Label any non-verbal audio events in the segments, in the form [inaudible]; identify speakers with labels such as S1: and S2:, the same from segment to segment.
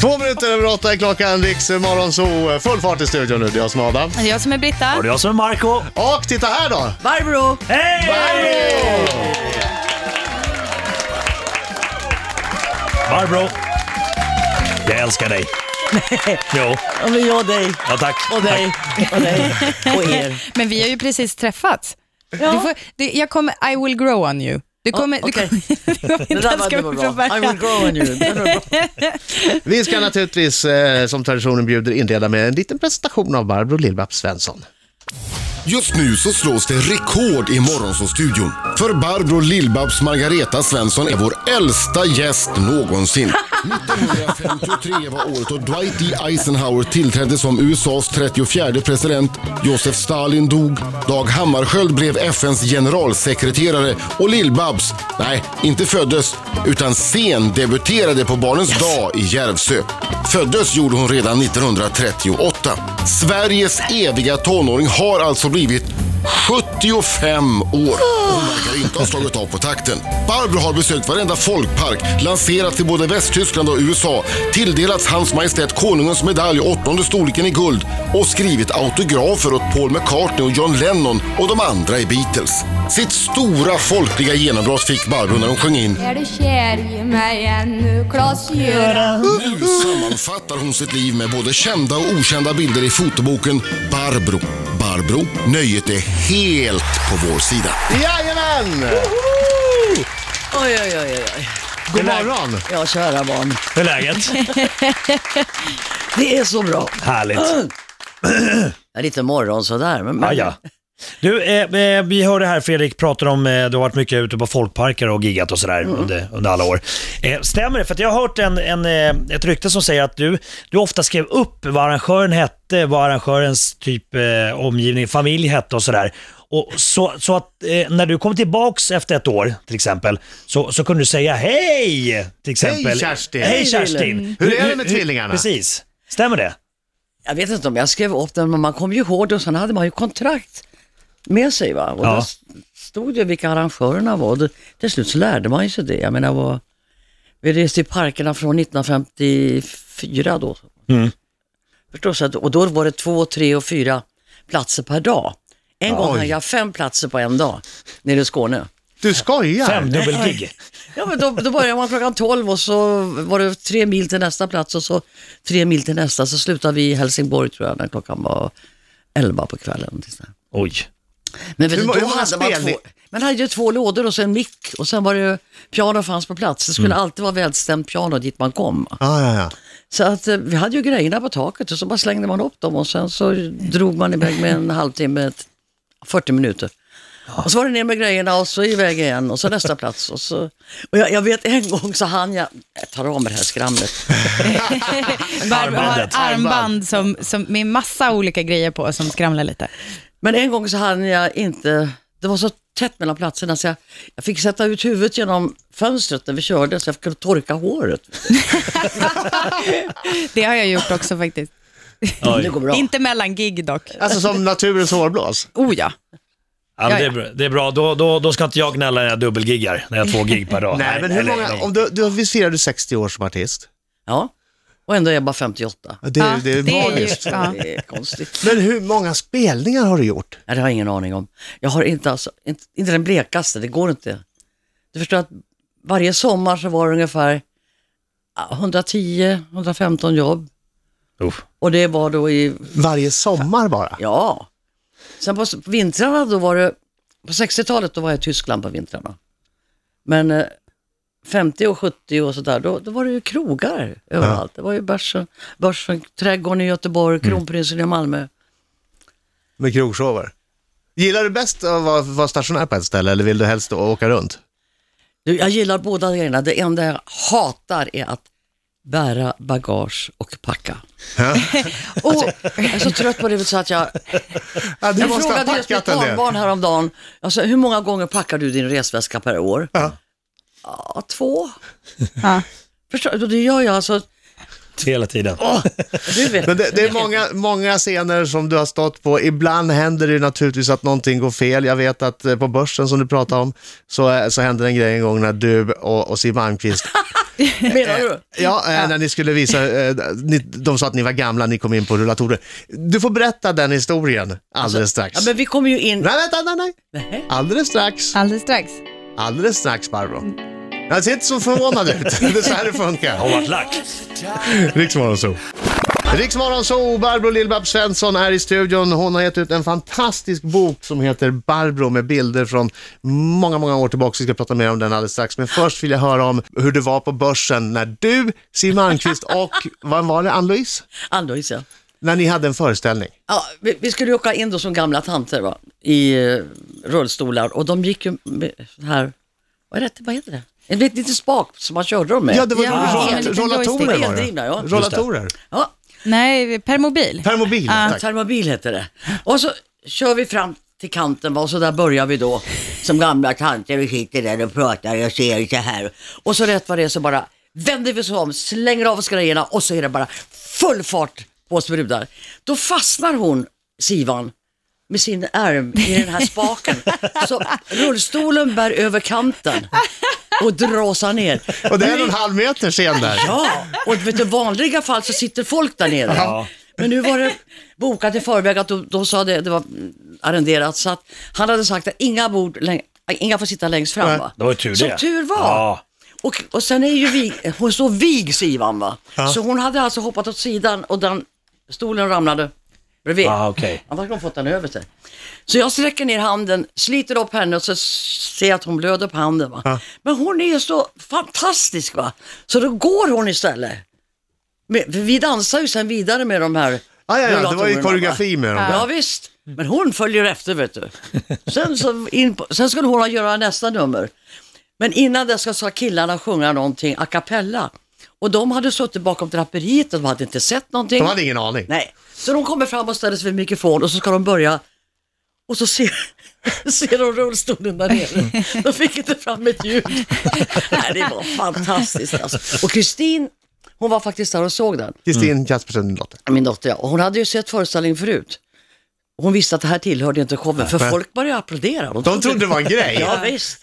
S1: Två minuter över åtta är klockan, Riks Morgonzoo. Full fart i studion nu, det är jag som är Adam.
S2: Det är Alltså, jag som är Britta.
S3: Och det är jag som är Marco.
S1: Och titta här då!
S2: Barbro!
S3: Hej! Barbro. Jag älskar
S4: [laughs]
S3: dig. Jo,
S4: Ja, men jag och dig.
S3: ja, tack.
S4: Och dig. Och dig. Och [laughs] er.
S2: Men vi har ju precis träffats. Du får, det, jag kommer, I will grow on you. Du kommer, du
S4: okej.
S2: kommer, [laughs] du kommer
S4: Det
S2: inte
S4: där
S2: ens
S4: var, det
S2: komma
S4: var
S2: från
S4: bra. I
S2: början.
S4: will grow on you. Den var bra.
S1: Vi ska naturligtvis, eh, som traditionen bjuder, inleda med en liten presentation av Barbro Lill-Babs Svensson.
S5: Just nu så slås det rekord i Morgonzoo-studion. För Barbro Lillbabs Margareta Svensson är vår äldsta gäst någonsin. 1953 var året då Dwight D. Eisenhower tillträdde som USAs 34 president. Josef Stalin dog. Dag Hammarskjöld blev FNs generalsekreterare. Och Lillbabs, nej, inte föddes, utan sendebuterade på Barnens dag i Järvsö. Föddes gjorde hon redan 1938. Sveriges eviga tonåring har alltså blivit 75 år och hon verkar inte ha slagit av på takten. Barbro har besökt varenda folkpark, lanserat i både Västtyskland och USA, tilldelats Hans Majestät Konungens medalj, åttonde storleken i guld och skrivit autografer åt Paul McCartney och John Lennon och de andra i Beatles. Sitt stora folkliga genombrott fick Barbro när hon sjöng in
S6: Är du kär i mig ännu, Klas-Göran?
S5: Nu sammanfattar hon sitt liv med både kända och okända bilder i fotoboken Barbro. Barbro, nöjet är helt på vår sida.
S1: Jajamän!
S4: [laughs] Oj, oj, oj, oj, oj.
S1: God morgon!
S4: Ja, kära barn.
S3: Hur är läget?
S4: Det är så bra.
S3: Härligt.
S4: Ja, Lite morgon sådär. Men, men,
S3: Ja, ja. Du, eh, eh, vi hörde här Fredrik prata om, eh, du har varit mycket ute på folkparker och giggat och sådär under, under alla år. Eh, stämmer det? För att jag har hört en, en, eh, ett rykte som säger att du, du ofta skrev upp vad arrangören hette, vad arrangörens typ eh, omgivning, familj hette och sådär. Och så, så att eh, när du kom tillbaks efter ett år till exempel, så, så kunde du säga hej! Till exempel.
S1: Kerstin!
S3: Hej
S4: Wille.
S3: Kerstin!
S1: Hur är det med tvillingarna?
S3: Precis, stämmer det?
S4: Jag vet inte om jag skrev upp den, men man kom ju ihåg det och sen hade man ju kontrakt med sig. Va? Och
S3: Ja.
S4: där s- stod ju vilka arrangörerna var. Och det, till slut så lärde man ju sig det. Jag menar, vad, vi reste i parkerna från 1954 då. Förstås, att- och då var det två, tre och fyra platser per dag. En gång hade jag fem platser på en dag nere i Skåne.
S1: Du skojar!
S3: Fem dubbelgig.
S4: Ja, men då, då började man klockan 12 och så var det tre mil till nästa plats och så tre mil till nästa. Så slutade vi i Helsingborg tror jag när klockan var 11 på kvällen.
S3: Oj.
S4: Men vet
S1: Hur
S4: du,
S1: må-
S4: då
S1: hur många
S4: hade man
S1: spel ni-
S4: två, man hade ju två lådor och så en mick och sen var det piano fanns på plats. Det skulle alltid vara välstämt piano dit man kom.
S1: Ah, Mm. ja, ja.
S4: Så att eh, vi hade ju grejerna på taket och så bara slängde man upp dem och sen så drog man iväg med en halvtimme, ett- 40 minuter. Och så var det ner med grejerna och så iväg igen och så nästa plats. Och, så, och jag, jag vet en gång så hann jag, jag tar av mig det här skramlet.
S2: Barbro har
S3: Armbandet.
S2: armband som, som, med massa olika grejer på som skramlar lite.
S4: Men en gång så hann jag inte, det var så tätt mellan platserna så jag, jag fick sätta ut huvudet genom fönstret när vi körde så jag kunde torka håret.
S2: Det har jag gjort också faktiskt.
S4: Det
S3: Oj.
S4: går bra.
S2: Inte mellan gig dock.
S1: Alltså som naturens hårblås.
S2: Oh ja.
S3: Ja, men det, är
S2: Ja,
S3: bra. det är bra. Då, då, då ska inte jag gnälla när jag dubbelgiggar, när jag har två gig per dag.
S1: Nej, men hur
S3: eller-
S1: många... Om du, du, visst firar du 60 år som artist?
S4: Ja, och ändå är jag bara 58.
S1: Ja, Det, är-
S2: Ja,
S1: det är
S2: det är ju-
S1: magiskt.
S2: Ja.
S4: Det är konstigt.
S1: Men hur många spelningar har du gjort?
S4: Nej, det har jag ingen aning om. Jag har inte, alltså, inte, inte den blekaste, det går inte. Du förstår att varje sommar så var det ungefär ah, 110-115 jobb.
S3: Uff.
S4: Och det var då i,
S1: Varje sommar bara?
S4: ja. Sen på s- på vintrarna då var det, på 60-talet då var jag i Tyskland på vintrarna. Men eh, 50 och 70 och sådär, då, då var det ju krogar överallt. Det var ju börsen, börsen, trädgården i Göteborg, Kronprinsen i Malmö.
S1: Med krogshower? Gillar du bäst att vara, vara stationär på ett ställe eller vill du helst åka runt?
S4: Du, jag gillar båda grejerna. Det enda jag hatar är att bära bagage och packa. [laughs] och, jag är så trött på det så att jag...
S1: Ja, du
S4: Jag
S1: måste ha
S4: frågade just mitt
S1: packat en del.
S4: barnbarn häromdagen, alltså, hur många gånger packar du din resväska per år? Ja. två.
S2: Ja.
S4: Förstår du? Det gör jag alltså.
S3: Hela tiden.
S4: Du vet.
S1: Men det, det är många, många scener som du har stått på. Ibland händer det ju naturligtvis att någonting går fel. Jag vet [laughs] att eh, på börsen som du pratade om så, eh, så hände det en grej en gång när du och, och Siw Malmkvist
S4: Menar du?
S1: Ja, eh, när ni skulle visa, eh, ni, de sa att ni var gamla, ni kom in på rullatorer. Du får berätta den historien alldeles strax.
S4: Ja, men vi kommer ju in...
S1: Nej, vänta, nej, Alltså, nej.
S4: Nej.
S1: Alldeles strax.
S2: Alldeles strax.
S1: Alldeles strax, Barbro. Jag ser inte så förvånad ut. [laughs] Det är så här det funkar.
S3: Har varit lack.
S1: Riksmorgonzoo. Riksmorgonzoo, Barbro Lill-Babs Svensson är i studion. Hon har gett ut en fantastisk bok som heter Barbro med bilder från många, många år tillbaka. Vi ska prata mer om den alldeles strax. Men först vill jag höra om hur det var på börsen när du, Siw
S4: [laughs]
S1: Malmkvist och, vad var det, Ann-Louise?
S4: Ann-Louise, ja.
S1: När ni hade en föreställning.
S4: Ja, vi, vi skulle ju åka in då som gamla tanter va? i eh, rullstolar och de gick ju med sån här, vad, är det, vad heter det? En liten, liten spak som man körde dem med.
S1: Ja, det var
S2: Ja,
S1: rollat-
S2: en liten
S1: rollatorer
S4: joystick.
S1: var
S4: Eldrivna, ja.
S1: det. Rollatorer.
S4: Ja,
S2: Nej, per mobil.
S1: Permobil, tack.
S4: termobil hette det. Och så kör vi fram till kanten va? och så där börjar vi då som gamla tanter och sitter där och pratar och ser så här. Och så rätt vad det är så bara vänder vi oss om, slänger av oss grejerna och så är det bara full fart på oss brudar. Då fastnar hon, Sivan, med sin arm i den här spaken. Så rullstolen bär över kanten och dråsar ner.
S1: Och det är en och en halv meter sen där.
S4: Ja, och vet du, i vanliga fall så sitter folk där nere.
S3: Ja.
S4: Men nu var det bokat i förväg att de, de sa det, det var mm, arrenderat, så att han hade sagt att inga, bord, läng- äh, inga får sitta längst fram. Va?
S3: Det var ju tur
S4: Som
S3: det.
S4: tur var.
S3: Ja.
S4: Och, och sen är ju vi, hon så vig Sivan va. Så hon hade alltså hoppat åt sidan och den stolen ramlade bredvid.
S3: Ah, okej.
S4: Annars hade hon fått den över sig. Så jag sträcker ner handen, sliter upp henne och så ser jag att hon blöder på handen. Va? Men hon är ju så fantastisk va. Så då går hon istället. Men, för vi dansar ju sen vidare med de här
S1: Ah, ja, ja, det var
S4: rullatorerna,
S1: ju
S4: va?
S1: koreografi med dem.
S4: Ja.
S1: där.
S4: visst, men hon följer efter vet du. Sen, så in på, sen skulle hon göra nästa nummer. Men innan det ska, ska killarna sjunga någonting a cappella. Och de hade suttit bakom draperiet och de hade inte sett någonting.
S1: De hade ingen aning.
S4: Nej, så de kommer fram och ställer sig vid mikrofon och så ska de börja och så ser, [laughs] ser de rullstolen där nere. De fick inte fram ett ljud. Nej, det var fantastiskt alltså. Och Kristin, hon var faktiskt där och såg den,
S1: Kristin Kaspersen, din dotter.
S4: min dotter ja. Och hon hade ju sett föreställningen förut. Hon visste att det här tillhörde inte showen, för folk började applådera.
S1: De trodde det var en grej.
S4: Ja, visst.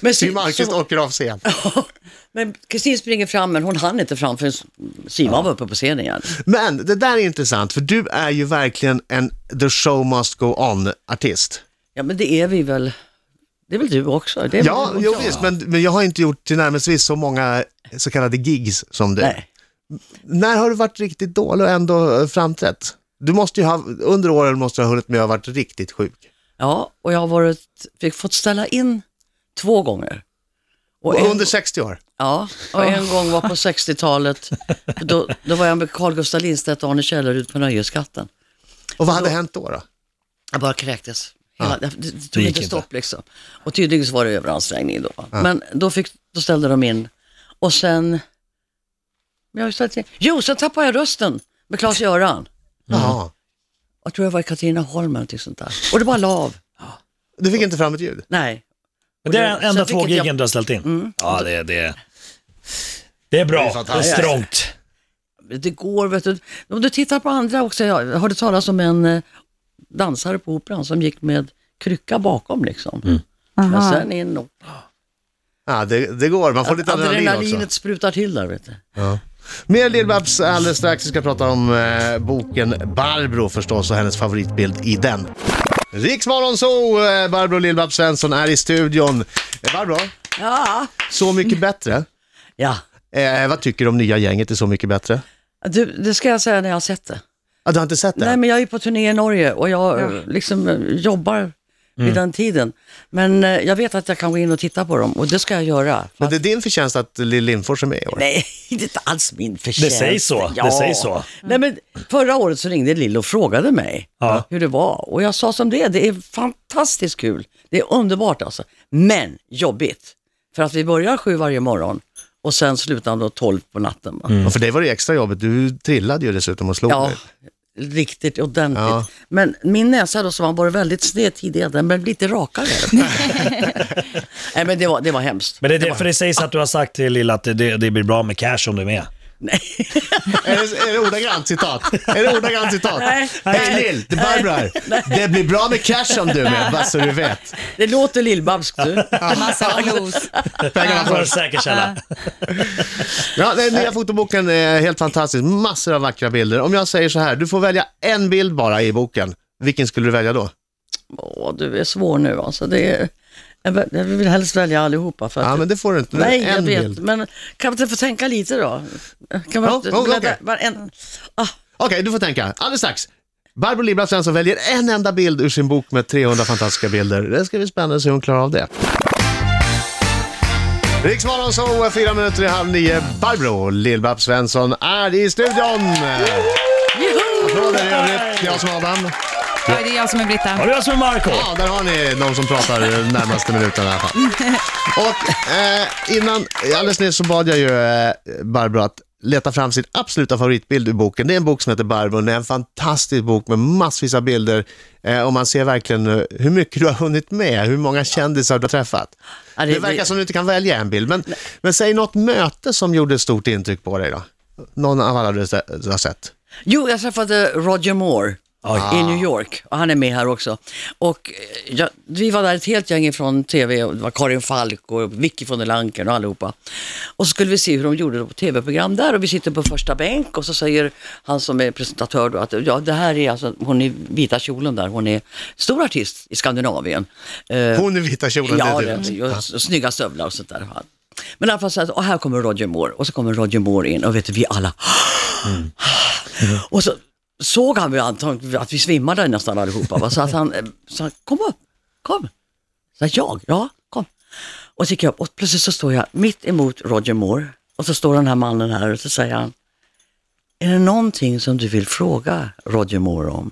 S4: Men,
S1: Siw
S4: sen-
S1: Malmkvist
S4: så-
S1: åker av scen.
S4: men Kristin springer fram, men hon hann inte fram förrän Simon var uppe på scenen igen.
S1: Men det där är intressant, för du är ju verkligen en the show must go on-artist.
S4: Ja, men det är vi väl. Det är väl du också? Det är väl
S1: Ja,
S4: du också,
S1: jo,
S4: va?
S1: visst, men, men jag har inte gjort tillnärmelsevis så många så kallade gigs som du.
S4: Nej.
S1: När har du varit riktigt dålig och ändå eh, framträtt? Du måste ju ha, under åren måste du ha hunnit med att ha varit riktigt sjuk.
S4: Ja, och jag har varit, fick, fått ställa in två gånger. Och en,
S1: Under 60 år.
S4: ja, och en gång var på 60-talet. Då, då var jag med Carl Gustaf Lindstedt och Arne Källerud på Nöjeskatten.
S1: Och vad hade hänt då?
S4: Mm.
S1: då?
S4: Jag bara kräktes. Hela, det, det
S3: Det
S4: tog
S3: gick
S4: inte
S3: inte.
S4: stopp liksom. Och tydligen så var det överansträngning då. Men då, fick, då ställde de in. Och sen... Jag har ju ställt in. Jo, sen tappade jag rösten med Claes-Göran.
S1: Jaha.
S4: Jag tror jag var i Katrineholm eller någonting sånt där. Och det bara la av.
S1: Du fick inte fram ett ljud?
S4: Nej.
S3: Men det är
S4: Sen
S3: enda
S4: fick
S3: två
S4: inte jag-
S3: giggen du har ställt in. Ja, det, det, det
S1: Det är
S3: är bra. Det är
S1: fantastiskt.
S3: strångt.
S4: det går, vet du. Om du tittar på andra också, jag har du talat om en eh, dansare på operan som gick med krycka bakom liksom.
S3: Mm.
S4: Men sen in och
S1: Ja, det, det går. Man får lite adrenalin också.
S4: adrenalinet sprutar till där vet du.
S1: Mer Lill-Babs alldeles strax. Vi ska prata om eh, boken Barbro förstås och hennes favoritbild i den. Riksmorgon så eh, Barbro Lill-Babs Svensson är i studion. Eh, Barbro,
S4: Ja.
S1: Så mycket bättre.
S4: ja.
S1: Eh, vad tycker du om nya gänget är Så mycket bättre?
S4: Du, det ska jag säga när jag har sett det.
S1: Ah, du har inte sett det?
S4: Nej men jag är ju på turné i Norge och jag eh, liksom eh, jobbar vid
S3: Mm.
S4: den tiden. Men eh, jag vet att jag kan gå in och titta på dem och det ska jag göra.
S1: Men det är din förtjänst att Lill Lindfors är med i år.
S4: Nej, [laughs] det är inte alls min förtjänst.
S3: sägs så, det sägs så.
S4: Nej, men förra året så ringde Lill och frågade mig
S3: Ja.
S4: hur det var. Och jag sa som det är, det är fantastiskt kul. Det är underbart alltså. Men jobbigt. För att vi börjar sju varje morgon och sen slutar då tolv på natten. Va?
S3: Mm.
S1: Och för dig var det extra jobbigt. Du trillade ju dessutom och slog
S4: Mm. Ja,
S1: dig.
S4: riktigt ordentligt.
S1: Ja.
S4: Men min näsa då som har varit väldigt sned tidigare, den blev lite rakare. Nej men det var, det var hemskt.
S3: Men det är därför det sägs att du har sagt till Lilla att det, det blir bra med cash om du är med.
S4: Nej.
S1: Är det, är det ordagrant citat? Är det ordagrant citat?
S4: Nej.
S1: Hej Lill, det är Barbro här. Det blir bra med cash om du är med, bara så du vet.
S4: Det låter lillbabskt du.
S1: [laughs]
S2: Massa blues.
S1: Pengarna
S3: För en
S1: först.
S3: säker källa.
S1: Ja, den
S4: Äh.
S1: nya fotoboken är helt fantastisk. Massor av vackra bilder. Om jag säger så här, du får välja en bild bara i boken. Vilken skulle du välja då?
S4: Åh, du är svår nu alltså. Det är, jag vä- jag vill helst välja allihopa. För att
S1: Ja, men det får du inte.
S4: Nej, jag
S1: en
S4: vet,
S1: bild.
S4: men kan man inte få tänka lite då? Kan man
S1: Ja,
S4: inte
S1: ja,
S4: bläddra-
S1: okej.
S4: varen- ah,
S1: Okej, du får tänka. Alldeles strax. Barbro Libbra Svensson väljer en enda bild ur sin bok med 300 fantastiska bilder. Det ska bli spännande att se hur hon klarar av det. Riksmorgon så fyra minuter i halv nio. Barbro Lill-Babs Svensson är i studion! Applåder i övrigt. Jag som är Adam.
S2: Ja, det är jag som är
S3: Har
S2: Britta.
S3: du alltså med Marco?
S1: Ja, där har ni de som pratar de närmaste minuterna i alla fall. Och eh, innan, alldeles nyss så bad jag ju eh, Barbro att leta fram sin absoluta favoritbild ur boken. Det är en bok som heter Barbro. Det är en fantastisk bok med massvis av bilder. Eh, och man ser verkligen eh, hur mycket du har hunnit med, hur många kändisar du har träffat.
S4: Ja, det-
S1: det, verkar
S4: det-
S1: som du inte kan välja en bild. Men, men säg något möte som gjorde stort intryck på dig då. Någon av alla du har sett.
S4: Jo, jag träffade Roger Moore
S3: Oj.
S4: i New York och han är med här också. Och eh, jag, vi var där ett helt gäng från tv, och det var Karin Falk och Vicky von der Lanken och allihopa. Och så skulle vi se hur de gjorde det på tv-program där och vi sitter på första bänk och så säger han som är presentatör då att ja, det här är alltså, hon i vita kjolen där, hon är stor artist i Skandinavien. Eh,
S1: Hon i vita kjolen,
S4: Ja,
S1: det är du.
S4: det, och, s- och snygga stövlar och sånt där. Men i alla fall så att, och här kommer Roger Moore och så kommer Roger Moore in och vet du, vi alla
S1: Mm.
S4: [gasps] och så såg han väl antagligen att vi svimmade nästan allihopa. Va? Så att han eh, sa, kom upp, kom. Så att jag, ja, kom. Och så gick jag upp och plötsligt så står jag mitt emot Roger Moore och så står den här mannen här och så säger han, är det någonting som du vill fråga Roger Moore om?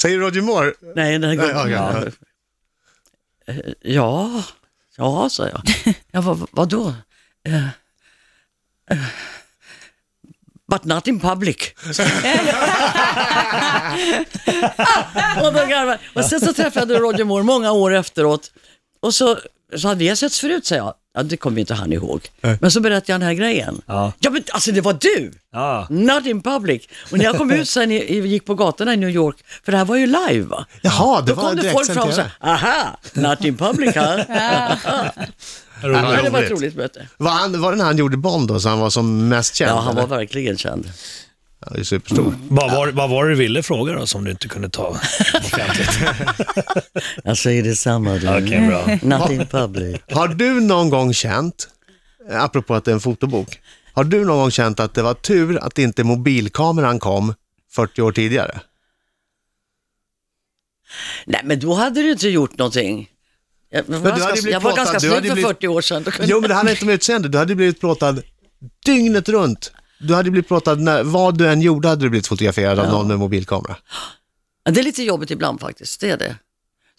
S1: Säger Roger Moore?
S4: Nej, den här
S1: Nej, okej,
S4: gången. Ja. Eh, ja, ja, sa jag. [laughs] ja, vad, vadå? Eh, eh, but not in [laughs] public. och, då garvade- och sen så träffade jag Roger Moore många år efteråt. Och så, så hade vi setts förut, sa jag. Ja, det kommer ju inte han ihåg. Men så berättade jag den här grejen.
S3: Ja.
S4: ja men alltså det var du!
S3: Ja.
S4: Not in public. Och när jag kom ut sen i, i- gick på gatorna i New York, för det här var ju live va?
S1: Jaha, det
S4: Då
S1: var
S4: kom det folk
S1: direkt
S4: fram och sa, aha, not in
S1: [laughs]
S4: public här.
S1: Vad
S4: ja, det var
S1: roligt.
S4: ett roligt möte.
S1: Var, han, var den här han gjorde Bond då, så han var som mest känd?
S4: Ja, han var
S1: eller?
S4: verkligen känd.
S1: Han är ju superstor.
S3: Vad var, vad var det du ville fråga då som du inte kunde ta offentligt?
S4: Jag säger detsamma du.
S3: Okej, bra.
S4: Not in public.
S1: Har du någon gång känt, eh, apropå att det är en fotobok, har du någon gång känt att det var tur att inte mobilkameran kom 40 år tidigare?
S4: Nej, men då hade du inte gjort någonting. Jag var
S1: hade ju
S4: ganska,
S1: blivit
S4: jag var ganska
S1: plåtad, du hade
S4: snygg
S1: ju
S4: för
S1: blivit-
S4: 40 år sedan. Då kunde...
S1: Jo, men det handlar inte om utseende. Du hade ju blivit plåtad dygnet runt. Du hade blivit plåtad när, vad du än gjorde hade du blivit fotograferad av någon med mobilkamera.
S4: Ja, Det är lite jobbigt ibland faktiskt, det är det.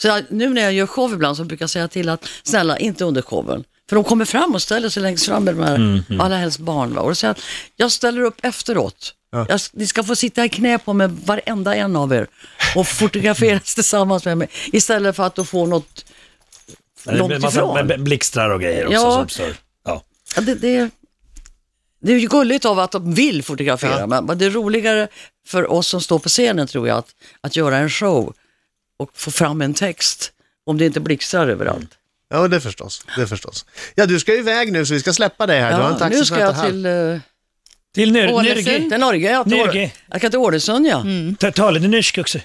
S4: Så jag, nu när jag gör show ibland så brukar jag säga till att snälla, inte under showen. För de kommer fram och ställer sig längst fram med de här,
S3: Mm,
S4: allra helst barn. Va? Och då säger jag, jag ställer upp efteråt. Jag, ni ska få sitta i knä på mig, varenda en av er, och fotograferas tillsammans med mig. Istället för att då få något
S3: Det
S4: långt
S3: blir massa
S4: ifrån.
S3: b- blixtrar och grejer också
S4: Ja.
S3: som stör. Ja.
S4: Ja, det, det, det är ju gulligt av att de vill fotografera, men men det är roligare för oss som står på scenen tror jag, att, att göra en show och få fram en text, om det inte blixtrar överallt.
S1: Ja, det förstås. Det förstås. Ja, du ska ju iväg nu så vi ska släppa dig här. du har en taxi
S4: nu
S1: som
S4: ska
S1: väntar
S4: jag
S1: här.
S4: till, eh,
S3: Till Nyr-
S2: Ålesund.
S3: Nyrgi.
S4: till Norge, jag, till,
S3: Norge.
S4: Åre- jag ska till Ålesund ja.
S2: Mm.
S3: Ta- Tala lite nyrsk också.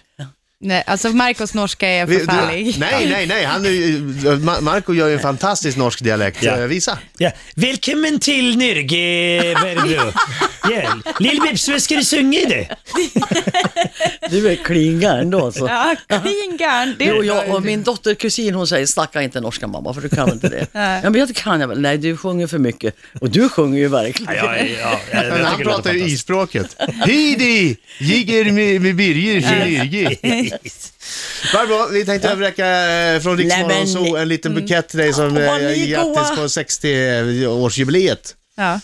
S2: Nej, alltså Marcos norska är
S1: Vi- du-
S2: förfärlig.
S1: nej, nej, nej. Han är, ju- Ma- Marco gör ju en fantastisk norsk dialekt.
S3: Ja.
S1: Eh, Visa.
S3: Ja. Välkommen till Nyrge, [laughs] Berbro. Ja. Lill-Bibs, vad ska du sjunga i det?
S4: Du är klinga ändå alltså.
S2: Ja, [laughs] klingarn. Det
S4: Jo, jag och min dotter kusin hon säger snacka inte norska mamma för du kan inte det. ja, men jag kan jag väl. Nej, du sjunger för mycket. Och du sjunger ju verkligen.
S3: Ja, ja, ja, jag
S1: Men han
S3: tycker det låter
S1: pratar ju
S3: fantastiskt.
S1: ispråket. Hidi! Jigger med med Birger Kirgi. Barbro, vi tänkte överräcka eh, från Rix
S4: Nej, men-
S1: Morgon Zoo en liten bukett till dig som
S4: Mm. Åh, vad
S1: eh,
S4: ni är
S1: grattis
S4: goa.
S1: på 60-årsjubileet.
S2: Ja.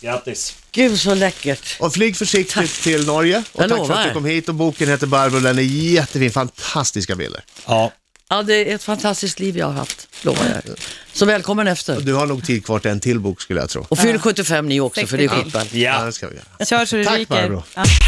S3: Grattis.
S4: Gud så läckert.
S1: Och flyg försiktigt till Norge. Och
S4: Jag
S1: tack för att
S4: lovar.
S1: du kom hit. Och boken heter Barbro, den är jättefin, fantastiska bilder.
S3: Ja.
S4: Ja, det är ett fantastiskt liv jag har haft, lovar jag. Så välkommen efter.
S1: Du har nog tid kvar till en till bok skulle jag tro.
S4: Och fyll 75 ni också, för det är skitballt.
S3: Ja.
S1: Ja, det ska vi göra.
S2: Kör så det
S1: Tack,
S2: ryker.
S1: Barbro.
S2: Ja.